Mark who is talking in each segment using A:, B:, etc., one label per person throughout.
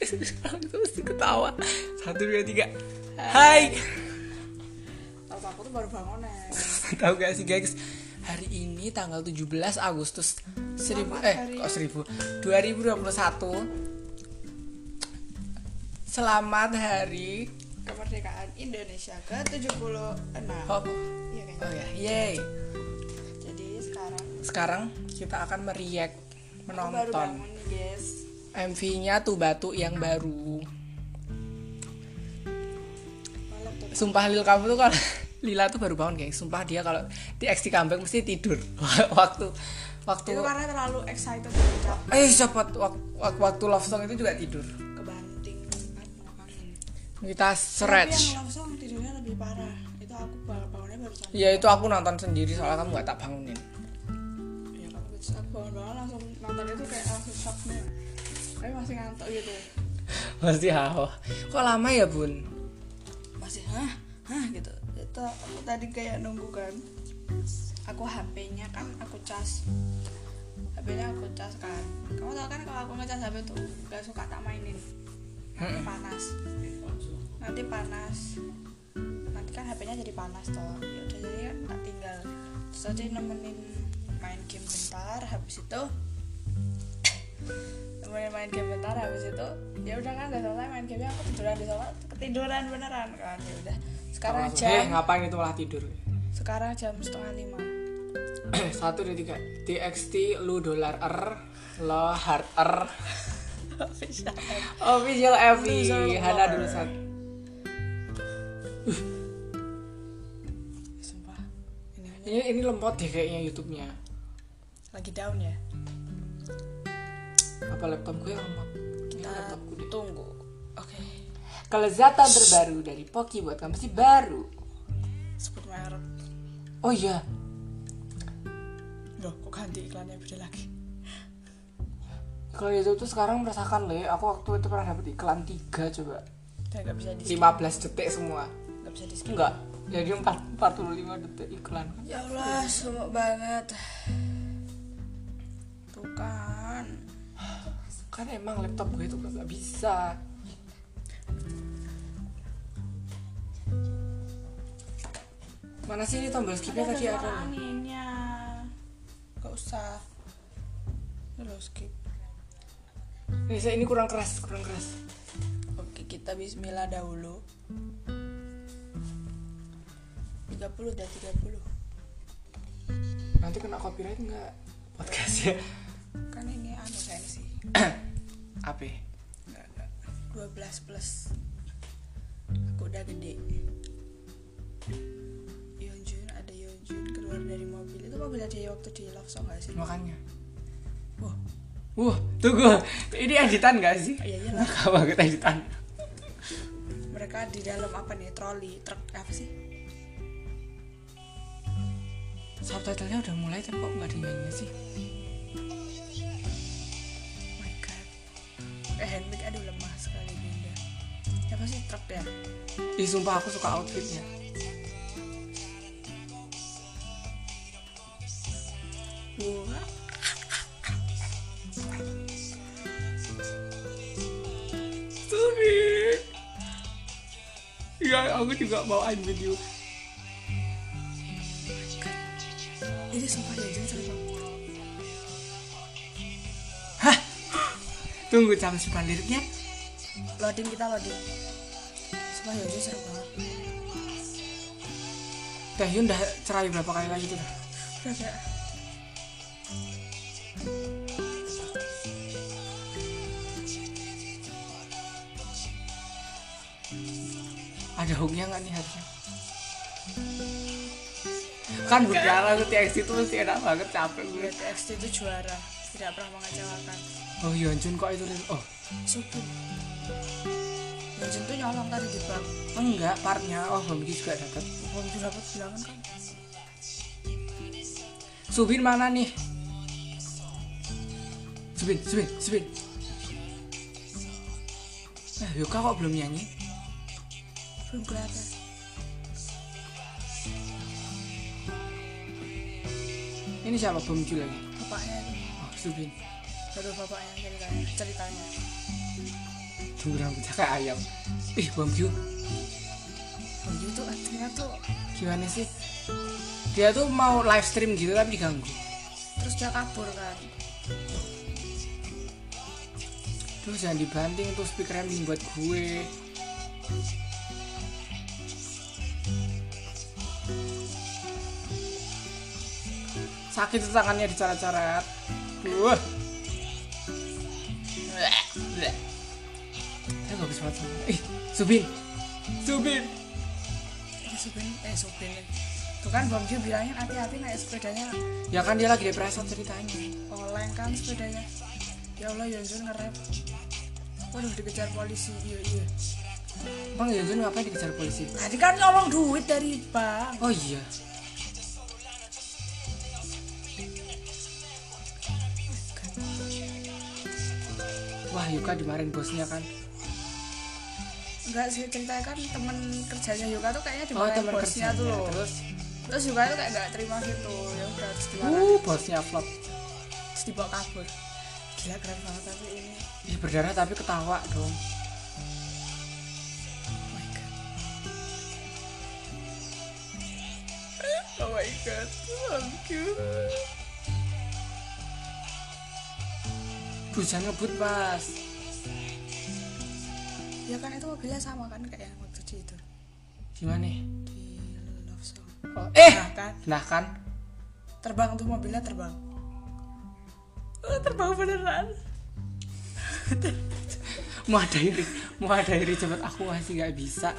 A: itu mesti ketawa satu dua tiga hai
B: Kalau aku tuh baru bangun ya.
A: tahu gak sih guys hari ini tanggal 17 Agustus seribu
B: Selamat
A: eh
B: hari-
A: kok seribu 2021 selamat hari
B: Kemerdekaan Indonesia ke-76.
A: oh,
B: Iya kayaknya.
A: oh ya yay
B: Jadi sekarang
A: sekarang kita akan meriak
B: aku baru
A: menonton
B: bangun nih, guys.
A: MV-nya tuh batu yang baru
B: Malam tuh.
A: sumpah Lil kamu tuh kalau Lila tuh baru bangun guys sumpah dia kalau di XT comeback mesti tidur waktu waktu
B: Itu kan karena terlalu excited berucap
A: eh cepat waktu, waktu love song itu juga tidur
B: kebanting kan sama angin.
A: kita
B: Tapi
A: stretch
B: yang love song tidurnya lebih parah. Itu aku ba- bangunnya baru jam.
A: ya itu aku nonton sendiri soalnya kamu gak tak bangunin
B: Ya kalau gitu aku bangun-bangun langsung nonton itu kayak langsung shock nih. Tapi masih ngantuk gitu.
A: pasti ah, hawa kok lama ya bun
B: Masih hah? Hah gitu. Itu aku tadi kayak nunggu kan. Aku HP-nya kan aku cas. HP-nya aku cas kan. Kamu tau kan kalau aku ngecas HP tuh gak suka tak mainin. Nanti
A: Hmm.
B: panas. Nanti panas. Nanti kan HP-nya jadi panas toh. Ya udah jadi kan tak tinggal. Terus tadi nemenin main game bentar habis itu nemenin main game bentar habis itu ya udah kan udah selesai main gamenya aku tiduran di sofa ketiduran beneran kan ya udah sekarang
A: Langsung,
B: jam
A: "Eh, ngapain itu malah tidur
B: sekarang jam setengah lima
A: satu dua tiga TXT lu dollar er lo hard er
B: Iya,
A: official MV
B: Loser
A: Hana
B: war.
A: dulu set
B: sumpah ini
A: ini ini lempot deh kayaknya YouTube-nya
B: lagi down ya
A: apa laptop gue yang lempot Ini
B: kita
A: laptopku deh
B: tunggu oke
A: kelezatan terbaru dari Poki buat kamu sih baru
B: sebut merek
A: oh iya
B: loh kok ganti iklannya beda lagi
A: kalau itu tuh sekarang merasakan loh ya. aku waktu itu pernah dapet iklan 3 coba
B: dan nggak bisa di
A: 15 detik semua Ya,
B: nggak bisa di skip
A: enggak jadi 4, 45 detik iklan
B: ya allah semua banget tuh kan
A: kan emang laptop gue itu nggak bisa mana sih ini tombol skipnya tadi ada loh.
B: anginnya nggak usah Ini loh skip
A: ini saya- ini kurang keras kurang keras
B: Oke, kita bismillah dahulu. 30 dan 30.
A: nanti kena copyright nggak ya. podcastnya
B: Kan ini anu sensi.
A: apa ya?
B: Enggak, enggak. 12 plus. Aku udah gede. Yeonjun ada Yeonjun keluar dari mobil. Itu mobilnya dia waktu di Love Song gak sih? Oh,
A: makanya
B: Wah,
A: Wah, tunggu. Ini editan gak sih?
B: iya iya lah.
A: Enggak banget editan.
B: Mereka di dalam apa nih? Troli, truk apa sih?
A: Subtitlenya udah mulai tapi kok nggak ada nyanyinya sih?
B: Oh my god. Eh, handbrake aduh lemah sekali bunda. Siapa sih truk ya?
A: Ih, sumpah aku suka outfitnya.
B: Wah.
A: Sorry. Ya, aku juga mau main video.
B: Ini sumpah jajan seru banget.
A: Tunggu jam simpan liriknya.
B: Loading kita loading. Sumpah jajan seru banget.
A: Taehyun udah cerai berapa kali lagi tuh?
B: Udah kayak
A: Ada hooknya nggak nih harusnya? Kan hooknya lagu TXT itu mesti enak banget capek gue.
B: BTS itu juara. Tidak pernah mengecewakan.
A: Oh Yeonjun kok itu? Oh
B: Subun. Jajan tuh nyolong tadi di bank.
A: enggak, partnya. Oh Homgi juga dapat.
B: Belum didapat bilangan kan?
A: Subin mana nih? Subin, Subin, Subin. Eh, Yuka kok belum nyanyi?
B: Belum kelihatan.
A: Ini siapa Bumju lagi?
B: Bapaknya itu.
A: Oh, Subin.
B: Baru bapaknya ceritanya. Ceritanya.
A: dulu rambutnya kayak ayam ih Bang Gyu Bang Gyu tuh artinya tuh gimana sih dia tuh mau live stream gitu tapi diganggu
B: terus dia kabur kan
A: Duh jangan dibanting tuh speakernya mending buat gue Sakit tuh tangannya dicoret-coret Duh Bleh, bleh. Ayo gak bisa banget sama Ih Subin Subin
B: eh supir eh supir tuh kan Bang Ju bilangnya hati-hati naik sepedanya
A: Ya kan dia lagi depresi ceritanya
B: oleng kan sepedanya ya Allah Yonjun ngerep waduh dikejar polisi iya iya
A: Bang Yunjun ngapain dikejar polisi?
B: tadi kan nyolong duit dari bank
A: Oh iya Wah Yuka dimarin bosnya kan
B: enggak sih ceritanya kan temen kerjanya Yuka tuh kayaknya
A: Oh
B: dimarahin
A: teman
B: bosnya
A: kerjanya
B: tuh loh
A: Terus
B: terus Yuka tuh kayak nggak terima gitu ya udah harus dimarahin
A: Uh, bosnya flop.
B: terus dibawa kabur gila keren banget tapi ini
A: Ih, berdarah tapi ketawa dong.
B: oh my god oh my god thank you
A: Duh, jangan ngebut pas.
B: ya kan itu mobilnya sama kan kayak yang waktu di itu
A: Gimana?
B: di love song
A: Oh, eh,
B: nah kan
A: nah kan.
B: terbang tuh mobilnya terbang Oh, terbang beneran
A: Mau ada iri, mau ada iri cepet aku masih nggak bisa.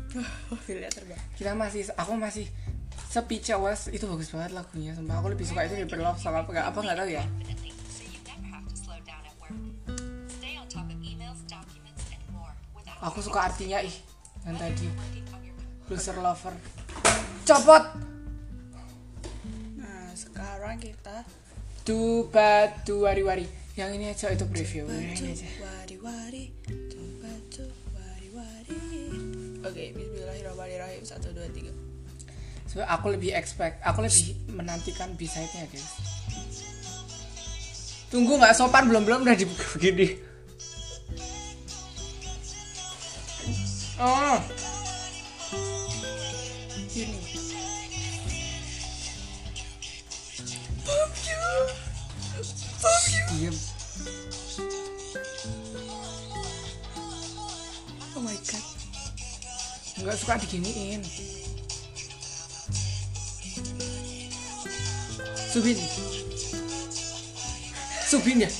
B: mobilnya terbang
A: Kita masih, aku masih Speechless itu bagus banget lagunya sumpah aku lebih suka itu daripada Love Song apa nggak apa nggak tahu ya
C: infinitely, so you never have to slow down at work. Stay on top of emails, documents, and more without
A: aku suka artinya ih yang tadi
C: working on your
A: loser lover copot
B: nah sekarang kita
A: tuba tu wari wari yang ini aja itu preview yang ini aja
B: wari wari batu wari wari oke Bismillahirrahmanirrahim satu dua tiga
A: Sebab aku lebih expect, aku lebih menantikan B-side-nya guys. Tunggu nggak sopan belum belum udah dibuka begini. Oh,
B: ini
A: diem.
B: oh my god
A: Nggak suka diginiin. Subin. Subin ya.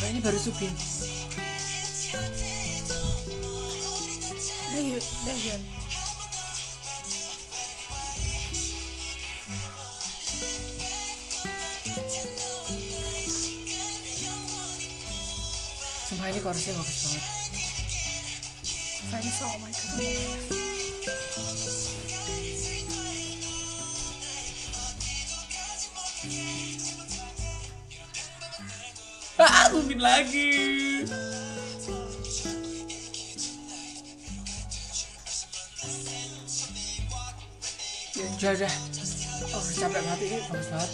A: Nah, ini baru Subin.
B: dah yuk dah yuk
A: Sumpah ini chorusnya bagus banget.
B: Vanessa, oh my god
A: Ah, Subin lagi. Ya, udah, udah. Oh, capek banget ini, bagus banget.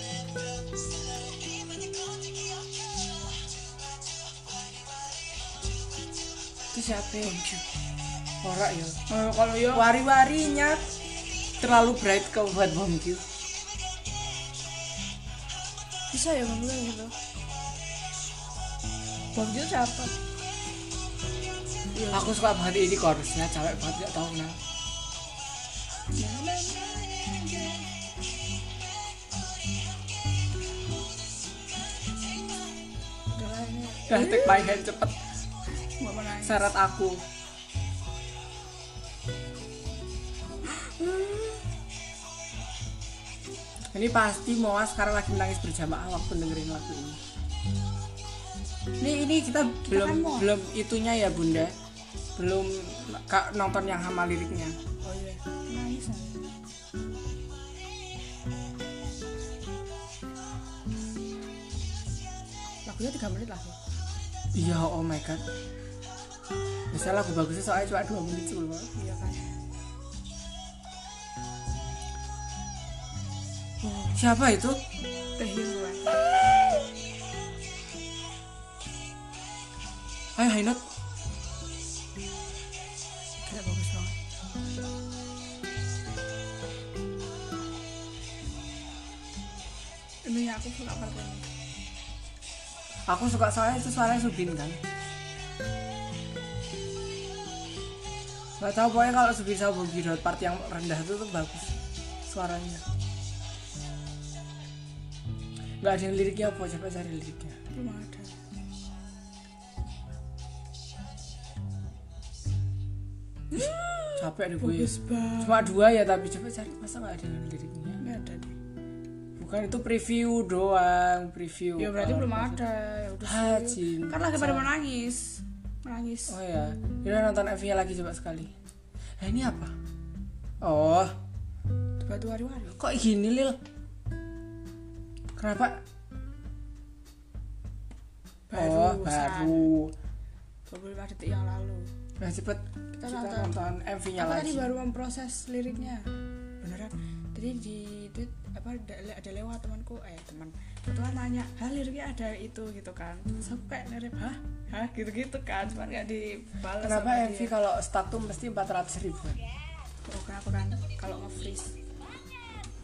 A: Itu siapa ya? Ora ya.
B: Oh, kalau yo
A: Wari-warinya terlalu bright kau buat Bom Kyu.
B: bisa ya bang Jun gitu bang Jun siapa Iya.
A: Aku suka banget ini chorusnya, capek banget gak tau kenapa.
B: Udah lah, ini
A: Udah, take my hand cepet.
B: nggak mau nangis.
A: syarat aku ini pasti Moa sekarang lagi menangis berjamaah waktu dengerin lagu ini ini ini kita, belum
B: kan Moa.
A: belum itunya ya bunda belum ka- nonton yang sama liriknya
B: Oh iya, nangis nangis. Lagunya tiga menit lagi.
A: iya oh my god biasanya lagu bagusnya soalnya cuma dua menit sebelum
B: Iya kan.
A: siapa itu
B: Teh Yuan.
A: ayo Hainot
B: Gila bagus banget. Ini aku suka part ini.
A: aku suka soalnya itu suaranya Subin kan nggak tahu pokoknya kalau Subin sama Bobby Daud part yang rendah itu tuh bagus suaranya nggak ada yang liriknya apa coba cari liriknya
B: Belum ada.
A: capek deh gue
B: Bagus banget.
A: cuma dua ya tapi coba cari masa nggak ada yang liriknya
B: Nggak ada deh.
A: bukan itu preview doang preview
B: Ya berarti belum ada. Ya udah.
A: Ah,
B: serius.
A: cinta.
B: Kan lagi pada menangis. Menangis.
A: Oh ya, kita nonton MV-nya lagi coba sekali. Nah, ini apa? Oh,
B: Batu wari-wari.
A: kok gini Lil? Kenapa?
B: Baru,
A: oh,
B: San.
A: baru.
B: 25 detik yang lalu.
A: Nah, cepet kita,
B: nonton.
A: nonton, MV-nya
B: Aku tadi
A: lagi.
B: baru memproses liriknya. Beneran. Tadi di tweet apa ada, ada lewat temanku, eh teman. Kebetulan nanya, "Hah, liriknya ada itu gitu kan?" Terus aku kayak nerep, "Hah? Hah?" gitu-gitu kan. Cuman nggak dibalas.
A: Kenapa
B: sama
A: MV
B: dia.
A: kalau stuck tuh mesti 400 ribu?
B: Oh, kenapa kan? Kalau nge-freeze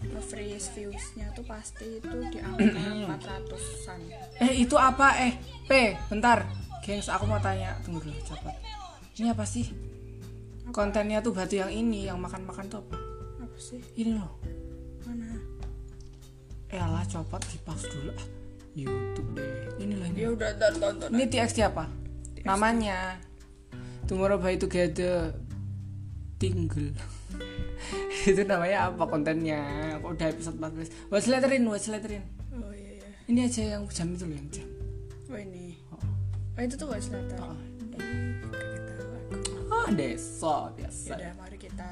B: nge-freeze views-nya tuh pasti itu di angka 400-an.
A: Eh, itu apa? Eh, P, bentar. Gengs, aku mau tanya. Tunggu dulu, cepat. Ini apa sih? Kontennya tuh batu yang ini, yang makan-makan tuh apa?
B: Apa sih?
A: Ini loh.
B: Mana?
A: Elah copot di pause dulu ah. YouTube deh. Ini loh ini.
B: Ya udah ntar tonton.
A: Ini TXT apa? Namanya Tomorrow by Together Tingle. itu namanya apa kontennya? Kok udah episode 14. What's letterin, what's letterin.
B: Oh iya iya.
A: Ini aja yang jam itu loh yang jam.
B: Oh ini.
A: Oh,
B: Oh itu tuh watch later.
A: Oh.
B: Ketawa aku.
A: oh desa biasa.
B: Yaudah, mari kita.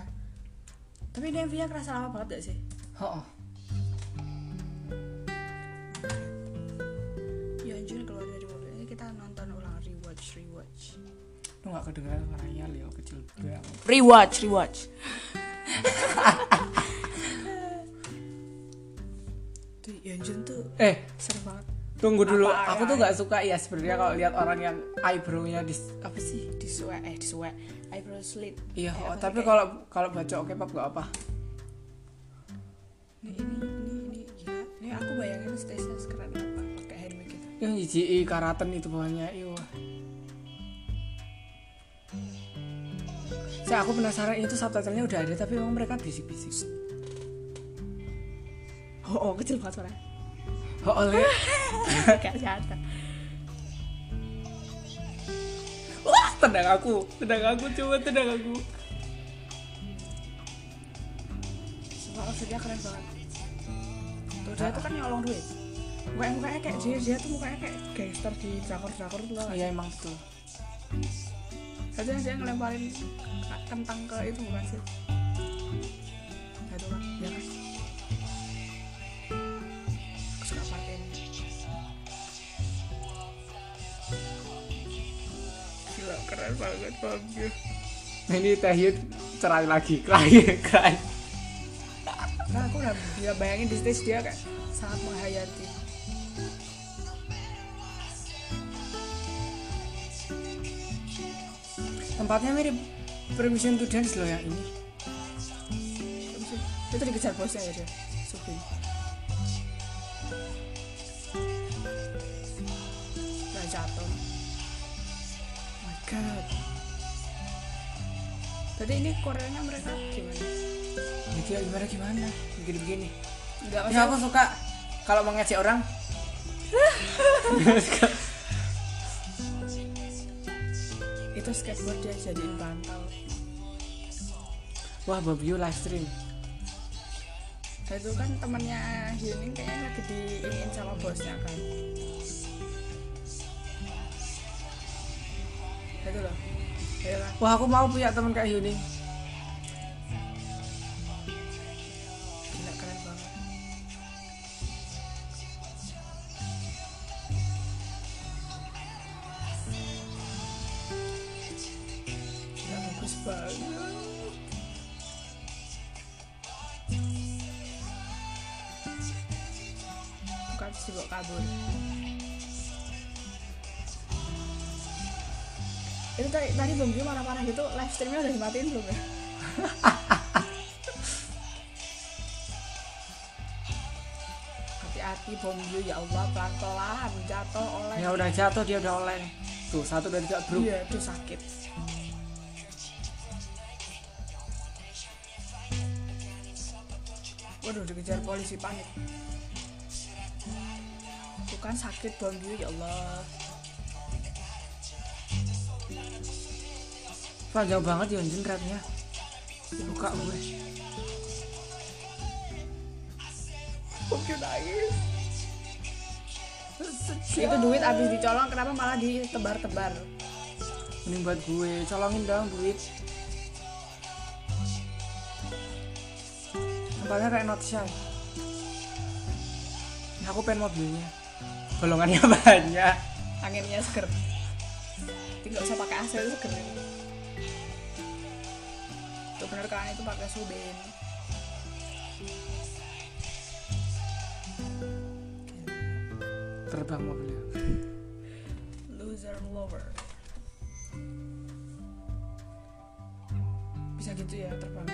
B: Tapi ini MV-nya kerasa lama banget gak sih?
A: Oh, oh.
B: Yeonjun Ya, keluar dari mobil ini kita nonton ulang rewatch rewatch.
A: Lu gak kedengeran suaranya Leo kecil banget.
B: Rewatch rewatch. tuh Yeonjun tuh
A: Eh,
B: seru banget
A: tunggu dulu.
B: Apaan?
A: Aku tuh gak suka ya sebenarnya kalau lihat orang yang eyebrow-nya di apa sih?
B: disuwe eh disuwe eyebrow slit.
A: Iya,
B: Eh,
A: oh,
B: apa sih,
A: tapi
B: kayak-
A: kalau kalau baca oke pop gak apa.
B: ini ini ini ini gila. Ini aku bayangin stage-nya sekeren apa pakai handmade gitu.
A: Yang JJI karaten itu iya. bawahnya, iyo. Saya aku penasaran itu subtitlenya udah ada tapi emang mereka bisik-bisik.
B: Oh, oh kecil banget suaranya.
A: Oh, oleh.
B: Kayak kan? jatuh.
A: Wah, tendang aku, tendang aku, coba tendang aku.
B: Sumpah outfitnya keren banget Tuh dia tuh kan nyolong duit Mukanya, mukanya kayak dia, dia tuh mukanya kayak gangster di drakor-drakor tuh loh
A: Iya emang betul.
B: Katanya dia ngelemparin ka- kentang ke itu bukan sih Nah itu kan, ya kan Aku suka pakai ini Gila, keren banget, Bambi
A: Nah, ini Taehyun cerai lagi, cerai, cerai.
B: Nah aku udah
A: Ya,
B: bisa bayangin di stage dia kayak sangat menghayati
A: Tempatnya mirip Permission to Dance loh yang ini.
B: Itu dikejar bosnya ya dia, Subin Gak Nah, jatuh Oh my god Berarti ini Koreanya mereka gimana?
A: Jadi Ya, gimana gimana? Begini-begini.
B: Enggak
A: Ya aku suka kalau mau ngecek orang.
B: Itu skateboard dia jadiin bantal
A: Wah, Bobby live stream.
B: Dan itu kan temennya Hyuning kayaknya lagi diinin sama bosnya kan Nah, Itu loh Ya kan
A: Wah aku mau punya teman kayak Yuni.
B: Gila keren banget Gila bagus banget Bukan sibuk kabur itu tadi tadi Bang Budi marah-marah gitu live streamnya udah dimatiin belum ya hati-hati Bang Budi ya Allah pelan-pelan jatuh oleh
A: ya udah jatuh dia udah oleng tuh satu dari tiga bro
B: iya itu sakit waduh dikejar polisi panik bukan sakit Bang Budi ya Allah
A: panjang banget ya anjing rapnya buka gue
B: Bang Budi nangis itu duit habis dicolong kenapa malah ditebar-tebar
A: ini buat gue colongin dong duit tempatnya kayak not shy aku pengen mobilnya golongannya banyak
B: anginnya seger tapi nggak usah pakai AC itu seger tuh bener kan itu pakai suben
A: terbang mobilnya
B: loser lover bisa gitu ya terbang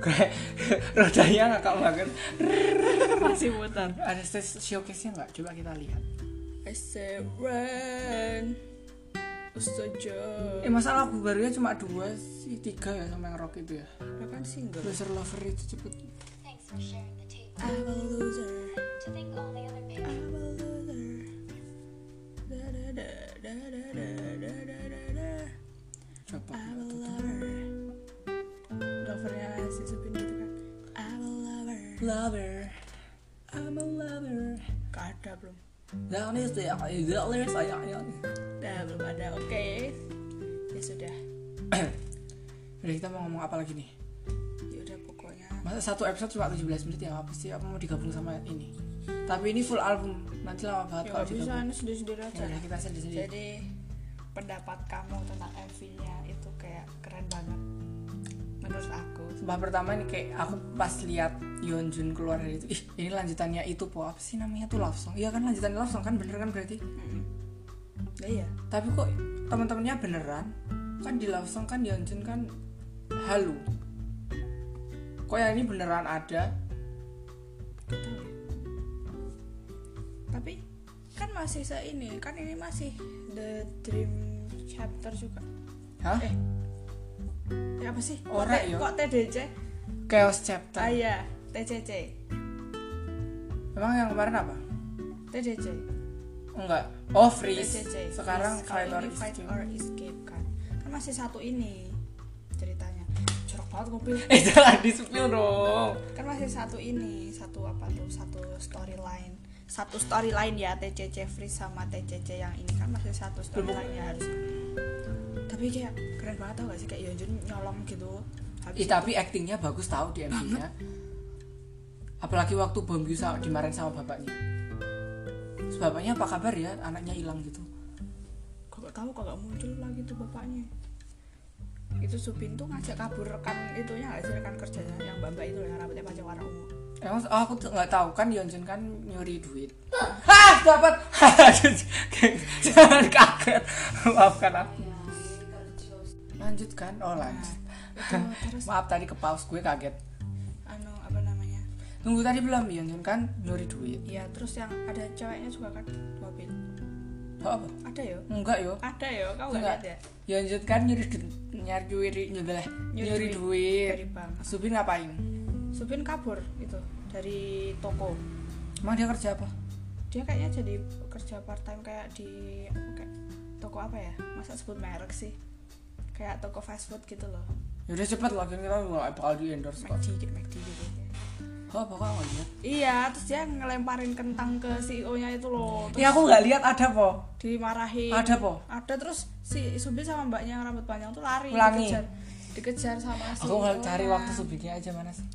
A: kayak rodanya ngakak banget
B: masih muter
A: ada stage showcase nya nggak coba kita lihat
B: I say run Oh, Ustaja
A: eh masa lagu barunya cuma dua sih tiga ya sama yang rock itu ya
B: Apa kan single
A: Loser Lover itu cepet
C: Thanks for sharing the tape.
B: I'm a loser
C: To think all the other
B: I'm
C: men
B: a loser da da da da da da da da da da
A: coba
B: I'm a lover Lovernya si Supin gitu kan I'm a lover
A: Lover I'm a lover
B: Gak ada belum
A: Down is the Down is
B: Nah belum ada oke Ya sudah
A: Udah kita mau ngomong apa lagi nih
B: Ya udah pokoknya
A: Masa satu episode cuma 17 menit ya apa sih Apa mau digabung sama ini Tapi ini full album Nanti lama banget
B: Ya
A: kalau
B: gak bisa
A: digabung
B: ini sendiri-sendiri
A: Ya
B: aja
A: udah kita sendiri sendiri
B: Jadi pendapat kamu tentang MV-nya itu kayak keren banget Menurut aku
A: Sumpah pertama ini kayak aku pas lihat Yeonjun keluar dari itu Ih ini lanjutannya itu po Apa sih namanya tuh love song Iya kan lanjutannya love song kan bener kan berarti
B: Ya iya
A: tapi kok teman-temannya beneran kan di love song kan Yeonjun kan halu kok yang ini beneran ada
B: Tapi kan masih se ini Kan ini masih The Dream Chapter juga
A: hah
B: Eh. Ya apa sih? Kok
A: Ora
B: T-
A: ya.
B: Kok TDC?
A: chaos chapter
B: Ah iya, TCC.
A: emang yang kemarin apa
B: TDC.
A: enggak oh freeze
B: TCC.
A: sekarang
B: Yes,
A: fight
B: kalau
A: or
B: ini fight
A: escape
B: or escape kan. Kan masih satu ini ceritanya. Jorok banget kopi.
A: eh jangan di spill dong
B: Kan masih satu ini, satu apa tuh? Satu storyline. Satu storyline ya TCC Free sama TCC yang ini kan masih satu storyline ya harus. Tapi kayak keren banget tau gak sih kayak Yeonjun nyolong gitu.
A: Ih, tapi actingnya bagus tahu di MV nya apalagi waktu Bom Yu sa- dimarahin sama bapaknya Terus bapaknya apa kabar ya anaknya hilang gitu
B: kok gak tahu kok gak muncul lagi tuh bapaknya itu Supin tuh ngajak kabur rekan itunya gak sih rekan kerjanya yang mbak mbak itu yang rambutnya panjang warna ungu
A: Emang oh, aku tuh nggak tahu kan Yeonjun kan nyuri duit. Hah, dapat. Jangan kaget. Maafkan aku. Lanjut kan? Oh, lanjut.
B: Nah, itu terus
A: Maaf tadi ke pause gue kaget.
B: anu apa namanya
A: Tunggu tadi belum Yeonjun kan nyuri duit.
B: ya terus yang ada ceweknya juga kan Supin
A: Oh, apa?
B: ada yo
A: Enggak yo.
B: ada yo kau gak
A: Enggak.
B: lihat ya
A: Yeonjun kan nyuri du- nyari duit nyuri, nyuri duit.
B: dari bank
A: Supin ngapain?
B: Supin kabur itu dari toko
A: Emang dia kerja apa?
B: dia kayaknya jadi kerja part time kayak di apa, kayak toko apa ya masa sebut merek sih kayak toko fast food gitu loh
A: Yaudah Ya cepet lagi kita nggak bakal di endorse kok.
B: McD kayak McD gitu
A: Oh, pokoknya nggak lihat.
B: Iya, terus dia ngelemparin kentang ke CEO-nya itu loh. Terus
A: Ya aku nggak lihat ada po.
B: dimarahin.
A: Ada po.
B: Ada terus si Subi sama mbaknya yang rambut panjang tuh lari
A: Ulangi.
B: dikejar. Dikejar sama E si
A: Aku nggak cari
B: orang.
A: waktu subiknya aja mana sih.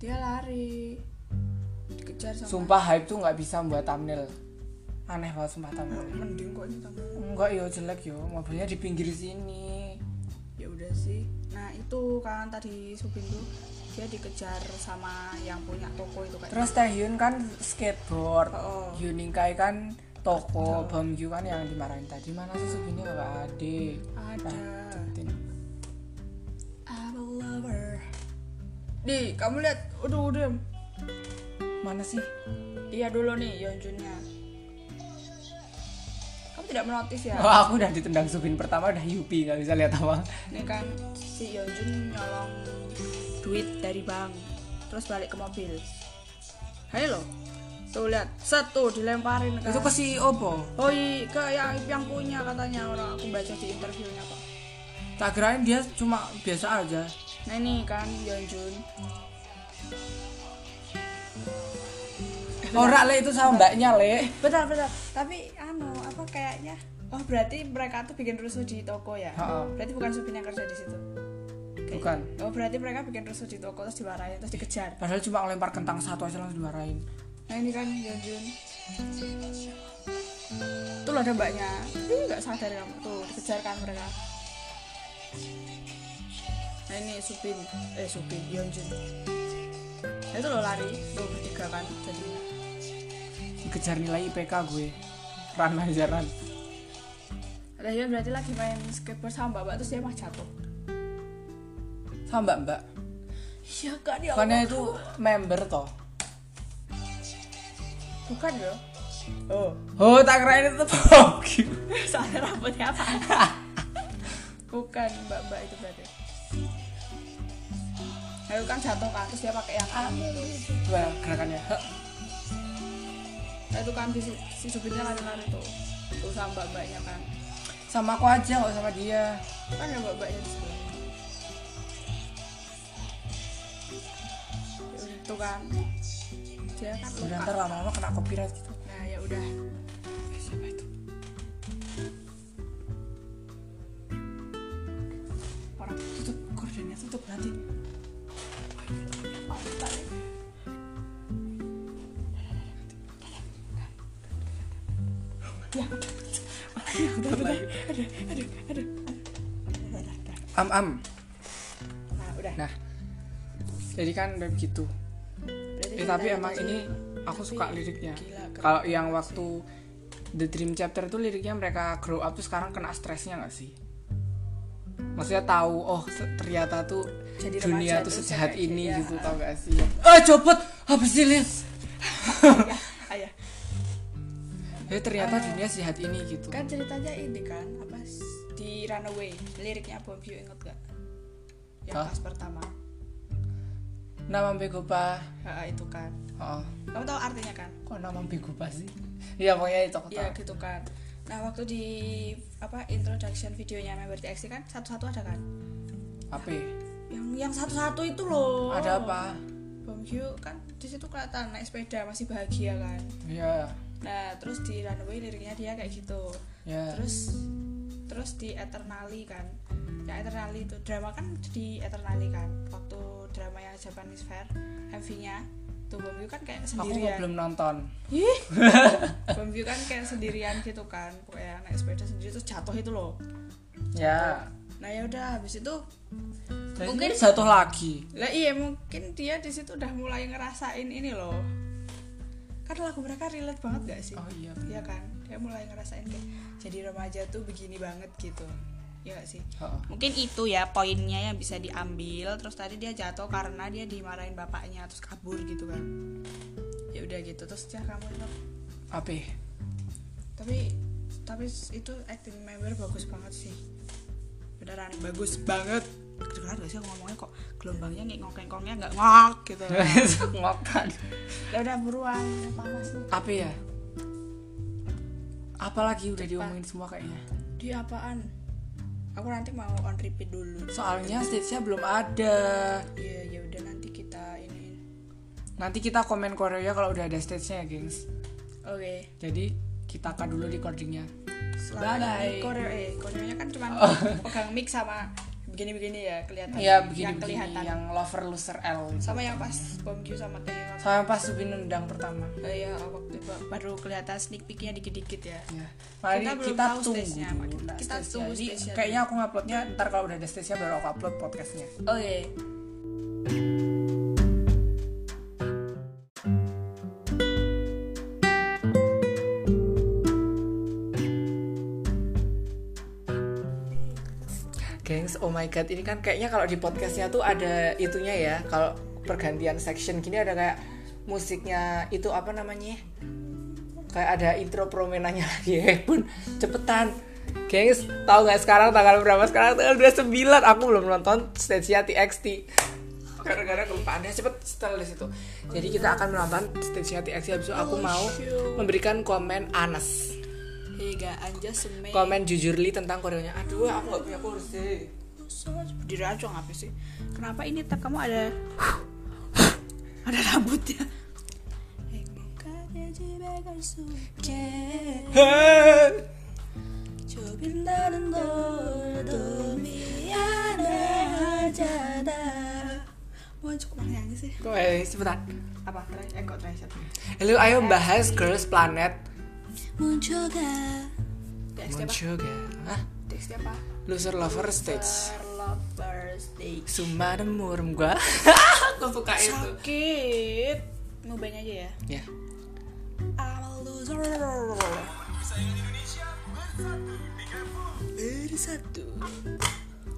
B: Dia lari. Dikejar sama
A: Sumpah hype tuh nggak bisa buat thumbnail. Aneh banget sumpah thumbnail.
B: mending kok ini sama.
A: Enggak yo jelek yo, mobilnya di pinggir sini.
B: Ya udah sih. Nah, itu kan tadi Subi tuh dia dikejar sama yang punya toko itu kan.
A: Terus Taehyun kan skateboard,
B: Oh.
A: Yoon Kai kan toko Bamgyu kan yang dimarahin tadi mana sih subinya nggak ada
B: Ada.
A: Tin.
B: I'm a lover. Di, kamu lihat. Aduh, udah.
A: mana sih
B: Dia dulu nih Yeonjunnya. Kamu tidak menotis ya?
A: oh, aku udah ditendang Subin pertama udah Yupi nggak bisa lihat apa
B: Ini kan si Yeonjun nyolong duit dari bank. Terus balik ke mobil. Hai lo. Tuh lihat, satu dilemparin kan.
A: itu ke E si Opo
B: Oh iya, ke yang yang punya katanya orang aku baca di interviewnya kok.
A: tak kirain dia cuma biasa aja
B: Nah ini kan Yeonjun.
A: Ora le itu sama mbaknya le
B: Benar benar. Tapi anu apa kayaknya? Oh berarti mereka tuh bikin rusuh di toko ya?
A: Ha-ha.
B: Berarti bukan supin yang kerja di situ. Kayak-
A: Bukan.
B: Oh berarti mereka bikin rusuh di toko terus dimarahin terus dikejar.
A: padahal cuma ngelempar kentang satu aja langsung dimarahin
B: Nah ini kan Yeonjun. Tuh loh ada mbaknya. Ih nggak sadar kamu tuh dikejar kan mereka. Nah ini supin eh supin Yeonjun. Nah, itu loh lari tuh bertiga kan jadi
A: dikejar nilai IPK gue ran aja ran
B: Nah, dia berarti lagi main skateboard sama mbak terus dia mah jatuh.
A: sama mbak mbak
B: Iya kan ya
A: karena
B: Allah.
A: itu member toh
B: bukan ya? Oh,
A: oh tak kirain itu Bamgyu
B: soalnya rambutnya apa? bukan mbak-mbak itu berarti. Nah, itu kan jatuh kan terus dia pakai yang anu.
A: Wah, gerakannya Heh.
B: Nah, itu kan di, si supirnya lari-lari tuh. Tuh sama mbak-mbaknya kan.
A: sama aku aja nggak sama dia
B: Kan ada mbak-mbaknya di sebelah. Ya udah, Tuh kan. Dia kan
A: udah
B: luka.
A: ntar lama-lama kena copyright gitu
B: Nah, ya udah.
A: siapa itu
B: orang tutup gordennya tutup nanti
A: am am
B: nah udah
A: nah jadi kan udah begitu eh, tapi emang ini aku suka liriknya
B: Gila, keren.
A: kalau yang waktu The Dream Chapter itu liriknya mereka grow up tuh sekarang kena stresnya nggak sih maksudnya tahu oh se- ternyata tuh
B: Jadi
A: dunia tuh
B: remaja tuh
A: sejahat
B: seperti-
A: ini
B: ya.
A: gitu tau gak sih ah copot apa sih Liz
B: ya. ayah
A: eh ternyata
B: Ah.
A: dunia sehat ini gitu
B: kan ceritanya ini kan apa s- di Runaway liriknya Bom Bio inget gak yang
A: Hah?
B: pas pertama
A: nama Begopa
B: Ha, itu kan
A: oh
B: kamu tahu artinya kan
A: kok nama Begopa sih Iya pokoknya itu aku
B: Iya
A: tahu.
B: gitu kan nah waktu di apa introduction videonya member TXT kan satu-satu ada kan
A: apa ya?
B: yang yang satu-satu itu loh
A: ada apa
B: Bom Bio kan di situ kelihatan naik sepeda masih bahagia kan
A: ya
B: Nah, terus di runway liriknya dia kayak gitu.
A: ya
B: Terus terus di Eternally kan. Ya Eternally itu drama kan di Eternally kan. Waktu drama yang Japanese Fair MV-nya tuh Bombiu kan kayak
A: aku kok
B: sendirian.
A: belum nonton
B: Ih. Bombiu kan kayak sendirian gitu kan. Pokoknya naik sepeda sendiri terus jatuh itu loh.
A: ya
B: Nah, ya udah habis itu
A: Dan
B: Mungkin-
A: ini jatuh lagi
B: lah iya mungkin dia di situ udah mulai ngerasain ini loh. Kan lagu mereka relate banget gak sih?
A: oh iya
B: Iya kan dia mulai ngerasain kayak jadi remaja tuh begini banget gitu ya gak sih
A: Heeh.
B: mungkin itu ya poinnya yang bisa diambil terus tadi dia jatuh karena dia dimarahin bapaknya terus kabur gitu kan ya udah gitu terus dia kamu tetap-
A: apa ya?
B: tapi tapi itu acting member bagus banget sih beneran bagus banget kedengeran gak sih aku ngomongnya kok gelombangnya ngengok ngengoknya nggak ngok gitu
A: ngokan
B: ya udah buruan panas nih
A: apa ya apalagi udah diomongin semua kayaknya
B: di apaan aku nanti mau on repeat dulu
A: soalnya stage-nya belum ada
B: Iya, ya udah nanti kita ini.
A: nanti kita komen Korea kalau udah ada stage-nya ya gengs
B: Oke.
A: jadi kita akan dulu recordingnya
B: Selama
A: Bye-bye.
B: ini Koreo eh koreonya kan cuma pegang mic sama begini-begini ya kelihatan.
A: Iya begini
B: yang kelihatan.
A: yang lover loser L
B: Sama yang pas bom Q sama Tae Yeon.
A: sama pas Subin nendang pertama
B: Eh, ya waktu itu baru kelihatan sneak peeknya dikit-dikit ya.
A: ya mari
B: Kita
A: kita,
B: belum tahu
A: tunggu
B: stage-nya apa.
A: dulu
B: Kita-
A: nah,
B: kita
A: stage-nya.
B: tunggu
A: Jadi,
B: stage-nya.
A: kayaknya aku nguploadnya ntar kalau udah ada stage-nya baru aku upload podcastnya
B: Oke.
A: Gengs, oh my god, ini kan kayaknya kalau di podcastnya tuh ada itunya ya. Kalau pergantian section gini ada kayak musiknya itu apa namanya? ya? Kayak ada intro promenanya lagi. Eh, pun cepetan. Gengs, tahu nggak sekarang tanggal berapa? Sekarang tanggal 29. Aku belum nonton Stacia TXT. Gara-gara kelupaan deh, cepet setel di situ. Jadi kita akan melakukan Stacia TXT habis itu aku mau memberikan komen Anas
B: Hingga anja semai
A: komen jujurli tentang koreonya aduh aku gak punya kursi
B: Berdiri aja apa sih Kenapa ini tab kamu ada Ada rambutnya 좁힌다는 돌도 미안해하자다 Wah cukup nyanyi sih
A: Kok, eh, sebentar
B: Apa? Try, eh kok try satu
A: Lalu ayo bahas Girls Planet
B: Munculkan Teksnya apa?
A: Monchuga ya. Hah?
B: Teksnya apa?
A: Loser Lover Stage
B: Lovers Day
A: Sumadem murum gua Aku suka itu
B: Sakit Mau banyak aja ya
A: Ya
B: I'm a loser Beri satu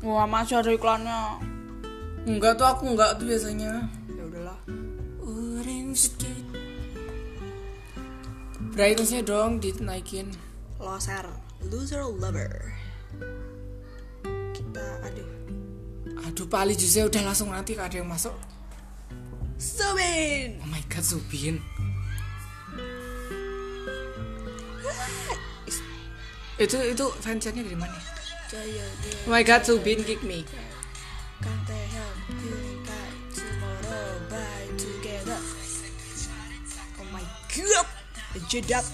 B: Wah masih ada iklannya
A: Enggak tuh aku enggak tuh biasanya
B: Ya udahlah
A: Urin sedikit Brightnessnya dong dinaikin
B: Loser Loser Lover Kita aduh
A: Aduh Pali Juse udah langsung nanti ada yang masuk
B: Sobin
A: Oh my god Subin Itu itu fansnya dari mana?
B: Jaya
A: Oh my god Subin kick me
B: Kang Taehyung Yuning Kai Tomorrow Bye Together Oh my god Jedap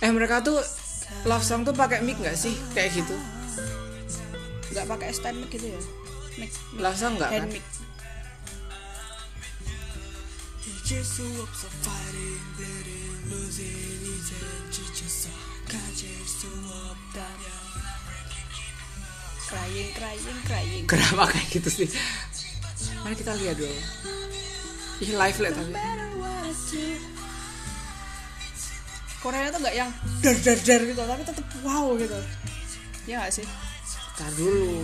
A: Eh mereka tuh love song tuh pakai mic nggak sih kayak gitu?
B: Gak pakai stand mic gitu ya Mic
A: Love song nggak kan?
B: Hand mic Crying, crying, crying
A: Kenapa kayak gitu sih? Mari kita lihat dulu. Ih live lihat tapi.
B: Korea tuh gak yang dar dar dar gitu tapi tetep wow gitu ya gak sih
A: Tar dulu.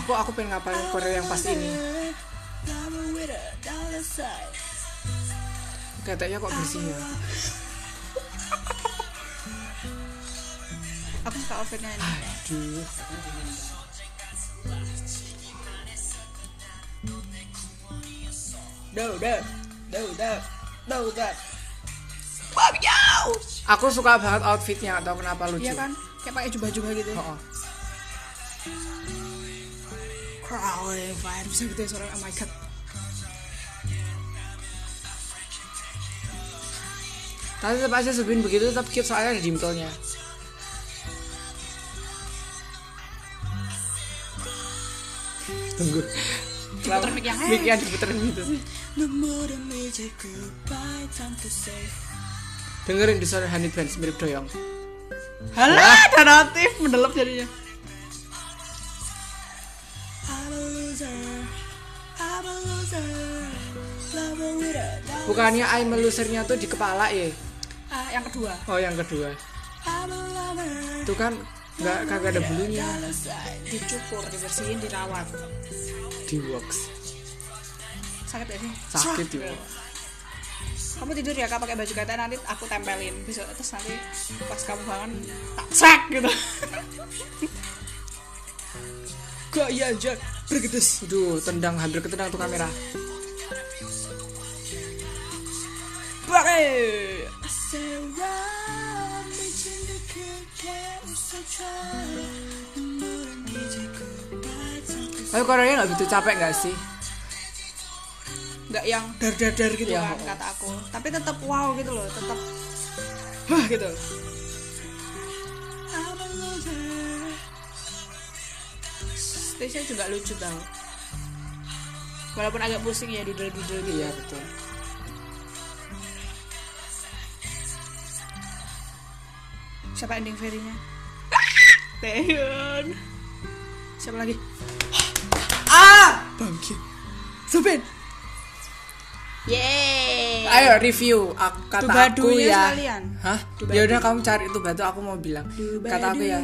A: Aku aku pengen ngapalin Korea yang pas ini. Katanya kok bersih ya?
B: aku suka outfitnya ini
A: Aduh.
B: do do do do do do
A: Aku suka banget outfitnya atau kenapa lucu?
B: iya kan kayak pakai jubah-jubah gitu
A: Oh, oh.
B: crawling fire bisa gitu ya suaranya oh my god
A: Tapi tetap aja Subin begitu tetap cute soalnya ada dimplenya. Tunggu. Kenapa
B: mic yang-
A: mic-nya diputerin gitu sih? Dengerin di suara Honey Bands mirip doyong.
B: halah dan aktif mendelep jadinya
A: Bukannya I melusernya tuh di kepala ya?
B: Ah, yang kedua
A: Oh yang kedua. Itu kan nggak kagak ada bulunya.
B: dicukur dibersihin dirawat
A: Di works.
B: sakit gak sih
A: Sakit
B: Srek.
A: ya.
B: kamu tidur ya kak pakai baju kata nanti aku tempelin besok terus nanti pas kamu bangun tak sek gitu
A: Gaya aja iya, bergedes. Duh, tendang hampir ketendang tuh kamera.
B: Bare.
A: Tapi Koreanya nggak gitu capek nggak sih?
B: nggak yang dar dar dar gitu
A: Ya,
B: kan
A: oh.
B: kata aku tapi tetap wow gitu loh tetap hah gitu stage juga lucu tau walaupun agak pusing ya dudel dudel gitu
A: Iya betul.
B: siapa ending fairy-nya Taehyun siapa lagi ah bangkit Supin yeay
A: ayo review Ak- kata aku
B: Dubadunya
A: ya
B: sekalian.
A: hah ya udah kamu cari itu batu aku mau bilang kata aku ya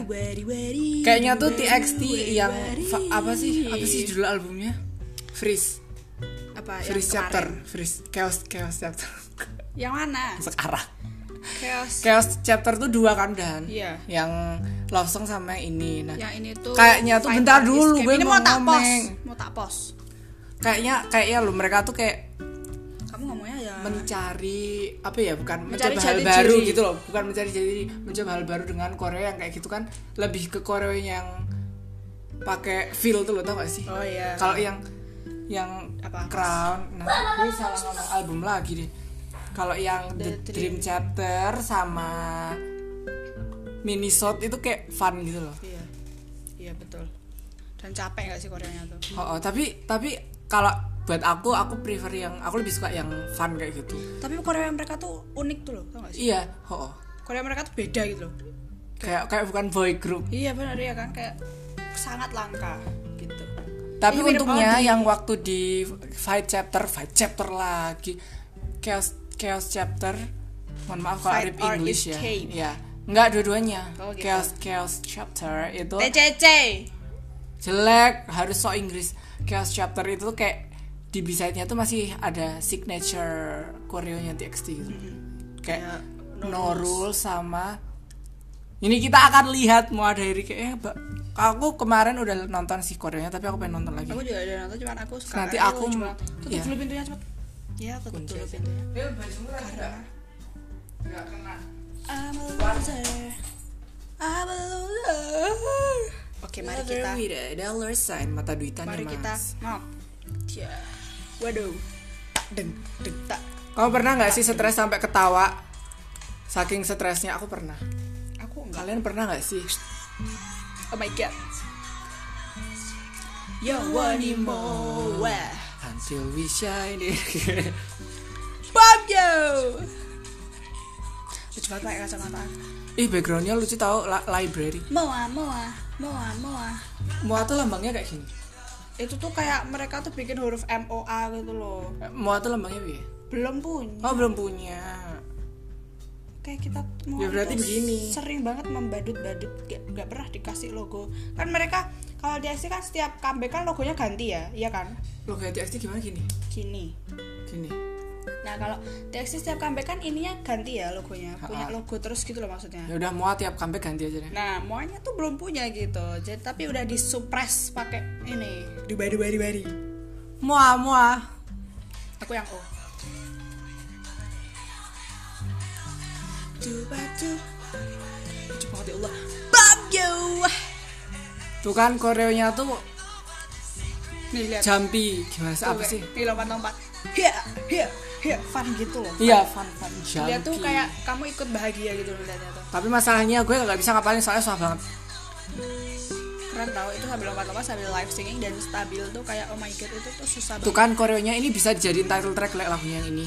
A: kayaknya tuh TXT yang fa- apa sih apa sih judul albumnya freeze
B: apa yang
A: freeze
B: kemarin?
A: chapter freeze chaos chaos chapter
B: yang mana
A: sekarang
B: chaos
A: chaos chapter tuh dua kan dan
B: Iya.
A: yang love song sama yang ini nah
B: yang ini tuh
A: Kayaknya tuh
B: Fighter
A: bentar
B: is
A: dulu,
B: Game.
A: gue
B: ini
A: mau
B: mau tak pos
A: ngomong.
B: mau tak pos
A: kayaknya kayaknya lo mereka tuh kayak
B: kamu ngomongnya ya
A: mencari apa ya bukan
B: Mencari
A: mencoba hal
B: jati
A: baru
B: diri.
A: gitu loh bukan mencari jadi mencoba hal baru dengan Korea yang kayak gitu kan lebih ke Korea yang pakai feel tuh lo tau gak sih
B: oh iya
A: kalau yang yang
B: Apa?
A: crown nah gue salah ngomong album lagi deh kalau yang The,
B: The
A: Dream. Chapter sama Minisode itu kayak fun gitu loh
B: iya iya betul dan capek gak sih Koreanya tuh
A: oh, oh, tapi tapi kalau buat aku aku prefer yang aku lebih suka yang fun kayak gitu
B: tapi Korea mereka tuh unik tuh loh tau gak sih
A: iya oh, oh.
B: Korea mereka tuh beda gitu loh
A: kayak kayak bukan boy group
B: iya benar ya kan kayak sangat langka gitu
A: Tapi
B: Ih, mirip
A: untungnya
B: Audi.
A: yang waktu di fight chapter, fight chapter lagi, chaos chaos chapter, mohon maaf kalau
B: Fight
A: Arif
B: or
A: English ya,
B: escape.
A: ya nggak dua-duanya,
B: Oh, gitu.
A: chaos chaos chapter itu
B: TCC
A: jelek harus so Inggris, chaos chapter itu tuh kayak di bisanya tuh masih ada signature Koreanya TXT gitu, kayak
B: Kayak Mm-hmm. Ya,
A: no
B: No
A: rule sama ini kita akan lihat mau ada hari kayak eh, Mbak, aku kemarin udah nonton si Koreanya tapi aku pengen nonton lagi.
B: aku juga ada nonton cuman aku suka
A: Nanti
B: ayo,
A: aku m-
B: cuma tutup
A: iya.
B: dulu pintunya cepet ya tutup
A: Kunci
B: dulu
A: aja.
B: pintunya
A: Bel, bajumu lagi nggak- nggak kena.
B: I'm a loser I'm a loser oke
A: Iya,
B: mari kita
A: Lover with a dollar sign mata duitannya
B: mari kita
A: Mas.
B: ngok ya waduh tak deng deng tak
A: Kamu pernah nggak sih stres sampai ketawa? Saking stresnya aku pernah.
B: aku enggak
A: Kalian pernah nggak sih?
B: Oh my god. Yo want more?
A: Until we shine it.
B: Bob yo. Lucu banget pakai kacamata.
A: Ih backgroundnya lucu tau la- library.
B: Moa moa moa moa.
A: Moa tuh lambangnya kayak gini.
B: Itu tuh kayak mereka tuh bikin huruf M O A gitu loh.
A: Eh, Moa tuh lambangnya piye?
B: Belum punya.
A: Oh belum punya.
B: Kayak kita tuh Moa
A: Ya, berarti
B: tuh
A: begini.
B: Sering banget membadut-badut gak, gak pernah dikasih logo. Kan mereka kalau di SC kan setiap comeback kan logonya ganti ya, iya kan?
A: Lo kayak TXT gimana gini?
B: Gini.
A: Gini.
B: Nah kalau TXT setiap comeback kan ininya ganti ya logonya, punya
A: Ha-ha.
B: logo terus gitu loh maksudnya.
A: Ya udah Moa tiap comeback ganti aja deh.
B: Nah, maunya tuh belum punya gitu. Jadi tapi udah disupres pakai ini. Dubai Dubai Dubai.
A: Moa Moa.
B: Aku yang O. Dubai tuh. Lucu banget ya Allah. Bab yo.
A: Tuh kan koreonya tuh
B: Nih lihat.
A: jumpy. Gimana sih
B: Tuh,
A: apa
B: kayak-
A: sih?
B: Nih lompat-lompat. Hiya, hiya, hiya. Fun gitu loh.
A: Iya, fun fun junkie.
B: Dia tuh kayak kamu ikut bahagia gitu loh lihatnya tuh.
A: Tapi masalahnya gue nggak bisa ngapalin soalnya susah banget.
B: Keren tau itu sambil lompat-lompat sambil live singing dan stabil tuh kayak oh my god itu tuh susah
A: Tuh
B: banget.
A: kan koreonya ini bisa dijadiin title track kayak lagunya yang ini.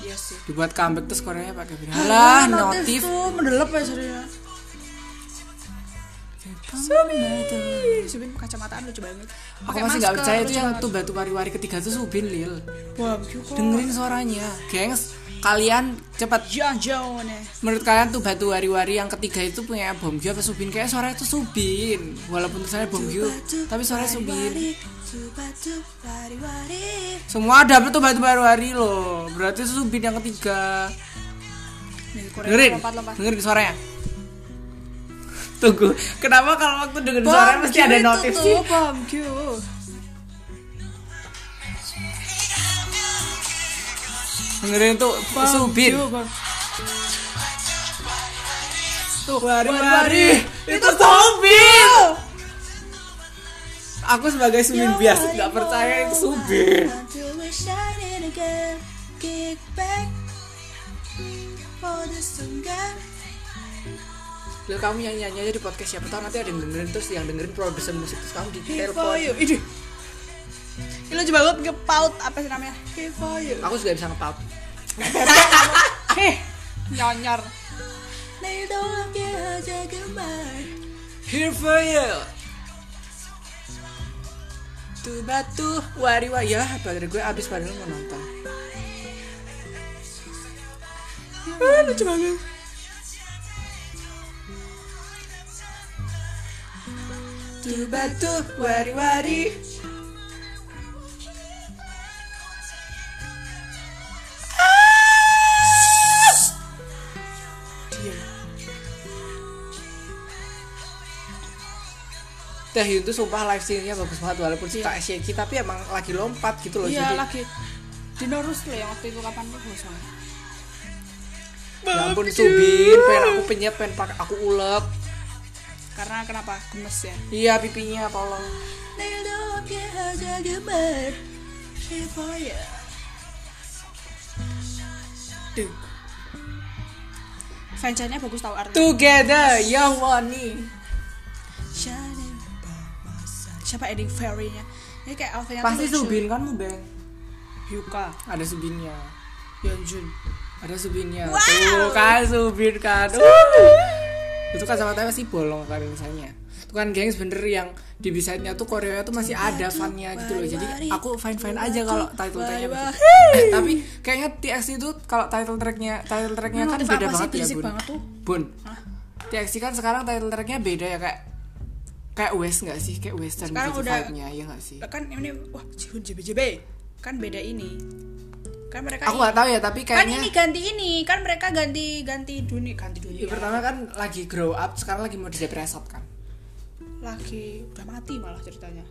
B: Iya sih.
A: Dibuat comeback terus koreonya pakai begini. Alah,
B: notif
A: notif.
B: tuh mendelep ya serius. Ih, Subin kacamataan lucu banget.
A: Aku
B: Pakai
A: masih nggak
B: masker,
A: percaya itu
B: lucu
A: yang
B: banget.
A: tuh batu wari-wari ketiga tuh Subin Lil.
B: Wah, Kyoko.
A: Dengerin suaranya, gengs. Kalian cepet.
B: John Jones.
A: Menurut kalian tuh batu wari-wari yang ketiga itu punya Bomgyu apa Subin? Kayak suaranya tuh Subin. Walaupun tulisannya Bomgyu, tapi suaranya Subin. Semua dapet tuh batu wari-wari loh. Berarti itu Subin yang ketiga.
B: Nih, Korea
A: dengerin
B: lompat-lompat.
A: dengerin suaranya tunggu kenapa kalau waktu dengerin suaranya mesti ada notif sih
B: Bom Kyu.
A: dengerin tuh subin
B: Tuh,
A: Wari-wari, itu subin aku sebagai subin
B: Ya
A: biasa nggak percaya itu subin
B: Kick back for the sungan.
A: Lalu kamu nyanyi nyanyi aja di podcast siapa tahu nanti ada yang dengerin terus yang dengerin produsen musik terus kamu di
B: Here for you. Ini. Ini lucu banget ngepaut apa sih namanya? Here for you.
A: aku juga bisa ngepaut
B: Heh, Eh, nyonyor.
A: here for you tuh batu wari wari ya baterai gue habis padahal mau nonton
B: ah, lucu banget Tuh batu wari-wari Ah! Diam.
A: Taehyun tuh sumpah live scene-nya bagus banget walaupun
B: Iya.
A: tak shaky tapi emang lagi lompat gitu loh
B: Iya
A: jadi
B: lagi Dinorus loh yang waktu itu kapan tuh gue soalnya
A: ya ampun subin pengen aku penyet pengen pakai aku ulek
B: Karena kenapa? Gemes ya
A: iya pipinya tolong
B: Duh. Fancannya bagus tau artinya
A: together ya yang money
B: Shining Siapa ending fairy-nya? Ini kayak outfit-nya tuh
A: pasti
B: lucu.
A: subin kan mu beng
B: Yuka
A: ada subinnya
B: Yeonjun
A: ada subinnya
B: Ya,
A: tuh
B: Wow.
A: kan subin kan Uh. itu kan sama tapi sih bolong kan misalnya itu kan gengs bener yang di bisanya tuh Korea tuh masih ada fannya gitu loh jadi aku fine fine aja kalau title tracknya begitu. Eh, tapi kayaknya TXT itu kalau title tracknya title tracknya kan
B: Motif
A: beda
B: apa sih?
A: banget ya
B: Berisik
A: bun
B: banget tuh.
A: bun TXT kan sekarang title tracknya beda ya kayak kayak West nggak sih kayak Western
B: Sekarang
A: gitu
B: udah-
A: vibe-nya ya nggak sih
B: Kan ini Wah Jihun JBJB Kan beda ini Kan mereka
A: aku nggak tahu ya tapi
B: Kan
A: kayaknya
B: ini ganti ini Kan mereka ganti Ganti dunia Ganti dunia
A: Ya, pertama kan lagi grow up, sekarang lagi mau didepresot kan.
B: Lagi Udah mati malah ceritanya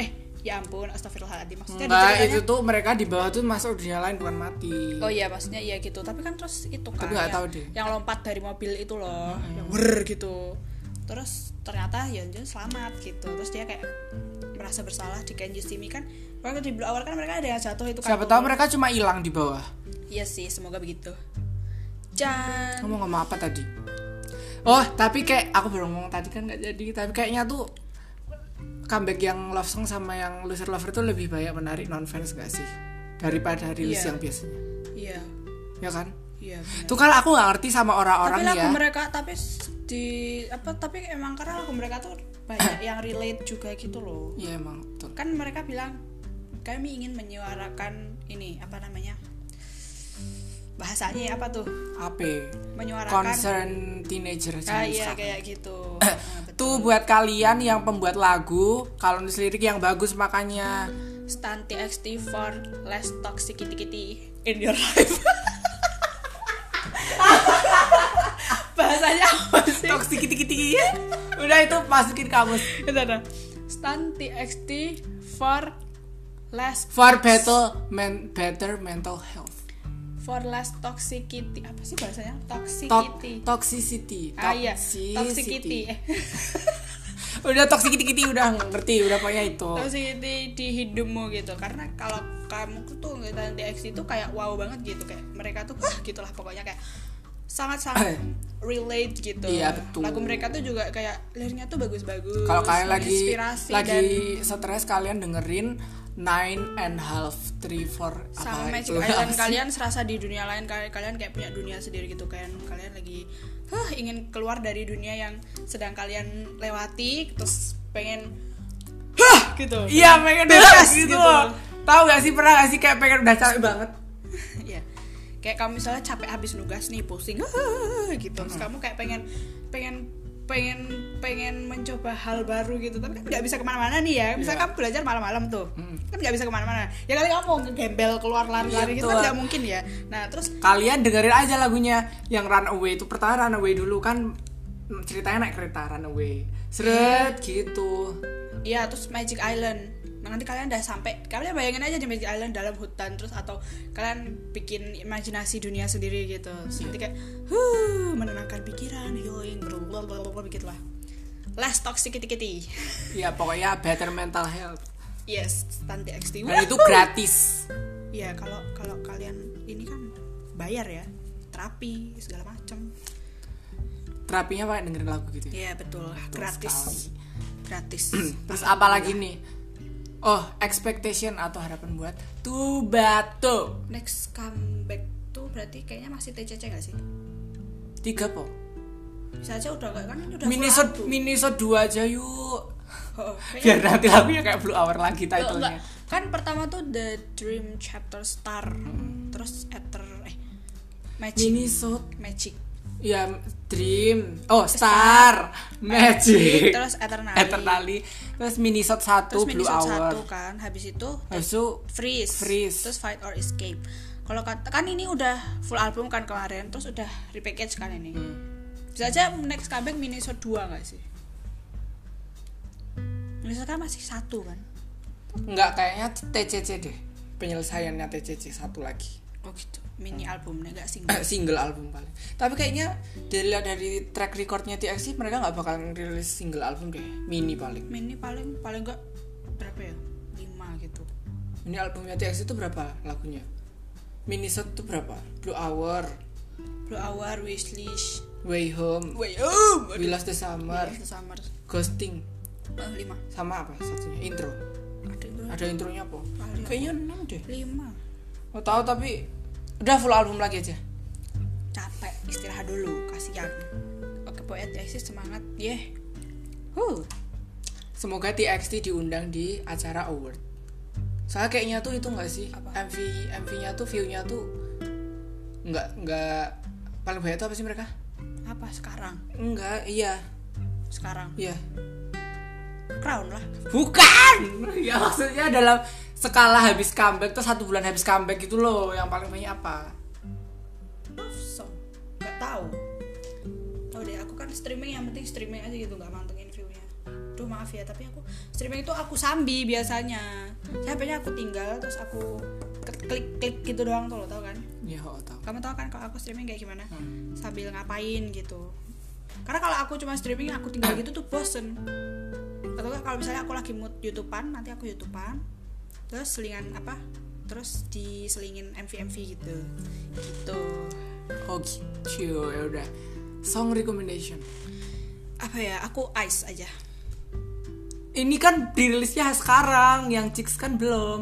B: Eh Ya ampun Astagfirullahaladzim Maksudnya di
A: Enggak,
B: ceritanya-
A: itu tuh mereka di bawah tuh masuk dunia lain bukan mati.
B: Oh iya maksudnya iya gitu tapi kan terus itu kan
A: Tapi nggak
B: yang,
A: tahu deh. Hmm.
B: yang lompat dari mobil itu loh yang wer gitu terus ternyata Yeonjun selamat gitu terus dia kayak merasa bersalah di Can You See Me kan waktu di blok awal kan mereka ada yang jatuh itu kan
A: Siapa tahu mereka cuma hilang di bawah.
B: iya sih semoga begitu Jan
A: Kamu ngomong apa tadi? Oh, tapi kayak aku baru ngomong tadi kan nggak jadi, tapi kayaknya tuh comeback yang love song sama yang loser lover tuh lebih banyak menarik non fans gak sih daripada rilis
B: Iya.
A: yang biasanya,
B: iya
A: ya kan?
B: iya benar.
A: Tuh kan aku nggak ngerti sama orang-orang
B: tapi
A: ya.
B: lagu mereka tapi s- di apa tapi emang karena lagu mereka tuh banyak yang relate juga gitu loh
A: Iya emang betul.
B: kan mereka bilang kami ingin menyuarakan ini apa namanya bahasanya apa tuh
A: AP
B: menyuarakan
A: concern teenager
B: ah,
A: jangan
B: iya
A: diserang.
B: kayak gitu Ah, betul.
A: Tuh buat kalian yang pembuat lagu, kalau nulis lirik yang bagus makanya.
B: stand TXT for less toxicity in your life bahasanya apa sih
A: Toxic tiki ya. Udah itu masukin kamus.
B: Bentar, bentar. stand TXT for less
A: For better men, better mental health.
B: for less toxicity apa sih bahasanya
A: To-
B: toxicity
A: toxicity.
B: ah iya
A: Toxicity.
B: toxicity eh
A: Udah toxic tiki udah ngerti, udah pokoknya itu.
B: terus di, di hidupmu gitu karena kalau kamu tuh ngeliatin TXT itu kayak wow banget gitu kayak mereka tuh wah gitulah pokoknya kayak sangat sangat relate gitu
A: Eh. Iya, betul.
B: lagu mereka tuh juga kayak liriknya tuh bagus-bagus
A: Kalau kalian lagi
B: menginspirasi dan
A: lagi stres kalian dengerin nine and half three four
B: sama
A: apa
B: Magic
A: itu?
B: Island kalian serasa di dunia lain kalian kalian kayak punya dunia sendiri gitu kan kalian lagi huh, ingin keluar dari dunia yang sedang kalian lewati terus pengen huh, gitu
A: Iya pengen
B: Yes,
A: udah gitu.
B: gitu.
A: loh. Tahu gak sih pernah gak sih kayak pengen udah capek banget.
B: ya kayak kamu misalnya capek habis nugas nih pusing gitu terus kamu kayak pengen pengen pengen pengen mencoba hal baru gitu tapi kan nggak bisa kemana-mana nih ya misalnya
A: Iya.
B: kamu belajar malam-malam tuh kan nggak bisa kemana-mana ya kali kamu mau ngegembel keluar lari-lari
A: Iya,
B: gitu kan
A: Betul.
B: nggak mungkin ya nah terus
A: kalian dengerin aja lagunya yang run away itu pertama run away dulu kan mm, ceritanya naik kereta run away seret gitu
B: Iya, terus Magic Island. Nah, nanti kalian udah sampai, kalian bayangin aja di Magic Island dalam hutan terus atau kalian bikin imajinasi dunia sendiri gitu. Terus nanti kayak huh, menenangkan pikiran, healing, blablabla begitu lah. Less toxicity.
A: ya pokoknya better mental health
B: Yes, Tante XT.
A: dan Nah, itu gratis
B: Iya, kalau kalau kalian ini kan bayar ya, terapi segala macam.
A: terapinya pakai dengerin lagu gitu ya.
B: Iya, betul. Nah, Gratis. Gratis.
A: terus apalagi nih oh expectation atau harapan buat tuh batu
B: Next comeback tuh berarti kayaknya masih TCC gak sih?
A: tiga po
B: Bisa aja udah nggak kan ini udah full
A: minisode
B: album.
A: minisode dua aja yuk
B: Oh,
A: biar
B: kayaknya-
A: nanti lagunya kayak blue hour lagi
B: Oh, enggak.
A: titlenya Hmm.
B: Kan pertama tuh The Dream Chapter Star, terus Ether eh Magic
A: Minnesota
B: Magic
A: ya Dream oh Star, Magic
B: terus Eternally
A: Eternally Eh, terus Minnesota 1
B: terus
A: Blue
B: Minnesota
A: Hour
B: satu kan habis itu
A: habis itu
B: freeze,
A: Freeze.
B: terus fight or escape kalau kata kan ini udah full album kan kemarin terus udah repackage kan ini
A: Hmm.
B: bisa aja next comeback Minnesota 2 gak sih Minnesota kan masih satu kan
A: nggak kayaknya TCC deh penyelesaiannya TCC satu lagi
B: oh gitu mini albumnya gak single
A: Hmm. Eh, single album paling tapi kayaknya dilihat dari track recordnya TXT mereka nggak bakal rilis single album deh mini paling
B: mini paling paling gak berapa ya lima gitu
A: mini albumnya TXT itu berapa lagunya mini set itu berapa Blue Hour
B: Blue Hour, Wishlist,
A: Way Home
B: Way Home,
A: We Lost the Summer
B: Iya, Summer,
A: Ghosting
B: Eh, lima,
A: sama apa satunya intro
B: ada itu
A: ada intronya apa
B: Ada.
A: kayaknya enam deh
B: lima,
A: nggak tahu tapi udah full album lagi aja
B: capek istirahat dulu kasihan oke pokoknya TXT semangat ya huh
A: semoga TXT diundang di acara award soalnya kayaknya tuh itu nggak sih
B: Apa?
A: MV MV-nya tuh view-nya tuh nggak nggak paling banyak tuh apa sih mereka
B: apa sekarang
A: enggak iya
B: sekarang
A: iya
B: crown lah
A: bukan ya maksudnya dalam skala habis comeback tuh satu bulan habis comeback gitu loh yang paling banyak apa
B: love song nggak tahu oh deh aku kan streaming yang penting streaming aja gitu nggak mantengin viewnya Duh maaf ya tapi aku streaming itu aku sambi biasanya HP-nya aku tinggal terus aku ke- klik klik gitu doang tuh lo tau kan
A: ya oh, tahu
B: kamu tau kan kalau aku streaming kayak gimana
A: Hmm.
B: sambil ngapain gitu karena kalau aku cuma streaming aku tinggal gitu tuh bosen atau nggak kalau misalnya aku lagi mood youtubean nanti aku youtubean terus selingan apa terus diselingin mv mv gitu gitu
A: oh gitu ya udah song recommendation
B: apa ya aku ice aja
A: ini kan dirilisnya sekarang yang chicks kan belum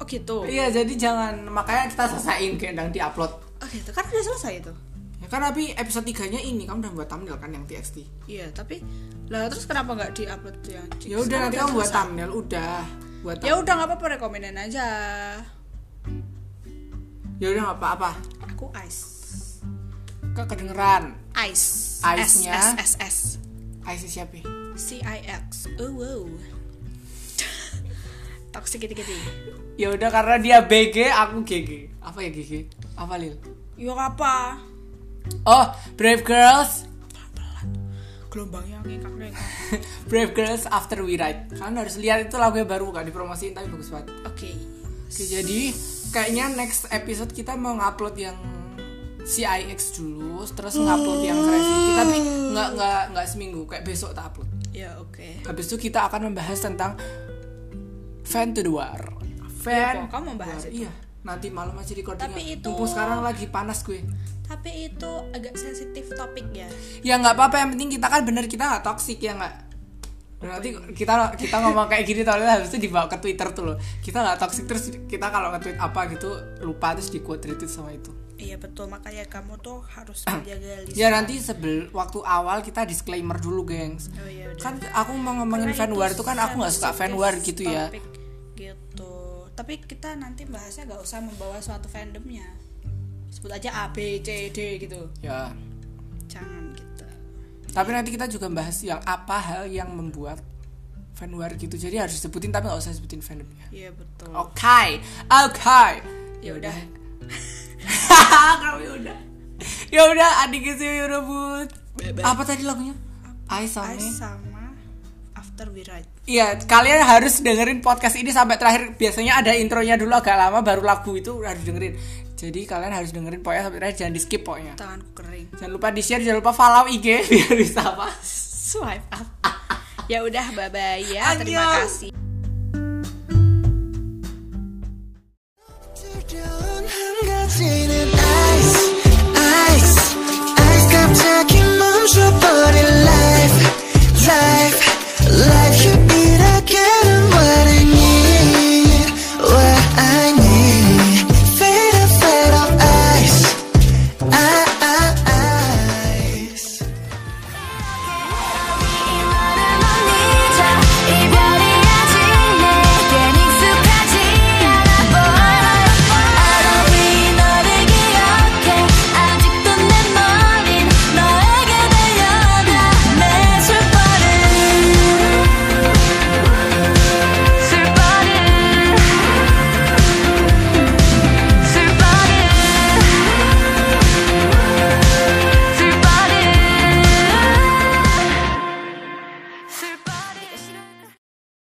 B: oh gitu
A: Iya, jadi jangan makanya kita selesaiin kendang diupload.
B: oh gitu kan udah selesai itu
A: Ya kan tapi episode 3-nya ini kamu udah buat thumbnail kan yang TXT.
B: iya tapi lah terus kenapa nggak diupload tuh yang
A: Ya udah nanti kamu buat thumbnail udah buat
B: ya udah nggak apa-apa rekomenin aja
A: ya udah nggak apa-apa.
B: aku ice
A: Ke kedengeran.
B: ice
A: Ice-nya?
B: S S S, S.
A: Aisy siapa? ya?
B: CIX. Oh wow. Toxic gitu-gitu.
A: Ya udah karena dia BG aku GG. Apa ya GG? Apa Lil?
B: Yo apa?
A: Oh, Brave Girls.
B: Gelombangnya ngekak ngekak.
A: Brave Girls After We Ride. Kalian harus lihat itu lagunya baru gak dipromosiin tapi bagus banget.
B: Oke.
A: Oke, jadi kayaknya next episode kita mau ngupload yang CIX dulu, terus ngupload yang Gravity, tapi nggak nggak nggak seminggu, kayak besok tak upload.
B: Ya oke.
A: Habis itu kita akan membahas tentang fan to the war. Fan.
B: Iya, kok, kamu membahas
A: war.
B: itu?
A: Iya. Nanti malam aja recording.
B: Tapi itu-
A: sekarang lagi panas gue.
B: Tapi itu agak sensitif topik ya.
A: Ya nggak apa-apa, yang penting kita kan bener kita nggak toksik ya nggak. Nanti kita kita ngomong kayak gini soalnya habis itu dibawa ke Twitter tuh loh. Kita nggak toksik terus kita kalau nge-tweet apa gitu lupa terus di quote retweet sama itu.
B: Iya betul makanya kamu tuh harus menjaga lisan.
A: Ya nanti sebel waktu awal kita disclaimer dulu, gengs.
B: Oh iya udah.
A: Kan aku mau ngomongin
B: Karena
A: fan
B: Nah, itu
A: war tuh kan aku nggak suka fan
B: sensitif
A: war gitu ya.
B: topik Gitu. Tapi kita nanti bahasnya nggak usah membawa suatu fandomnya. Sebut aja A B C D gitu.
A: Ya.
B: Jangan gitu.
A: Tapi nanti kita juga bahas yang apa hal yang membuat fan war gitu. Jadi harus disebutin tapi nggak usah sebutin fandomnya.
B: Iya betul.
A: Oke, oke.
B: Ya udah.
A: Kami udah. Ya udah, adik kecil rebut. Apa tadi lagunya? I
B: I
A: Same.
B: sama After We Ride.
A: Iya, kalian harus dengerin podcast ini sampai terakhir. Biasanya ada intronya dulu agak lama baru lagu itu harus dengerin. Jadi kalian harus dengerin pokoknya sampai terakhir jangan di skip pokoknya.
B: Tanganku kering.
A: Jangan lupa di share, jangan lupa follow IG biar bisa pas.
B: Swipe up. ya udah bye bye ya. Terima
A: Annyeong.
B: kasih.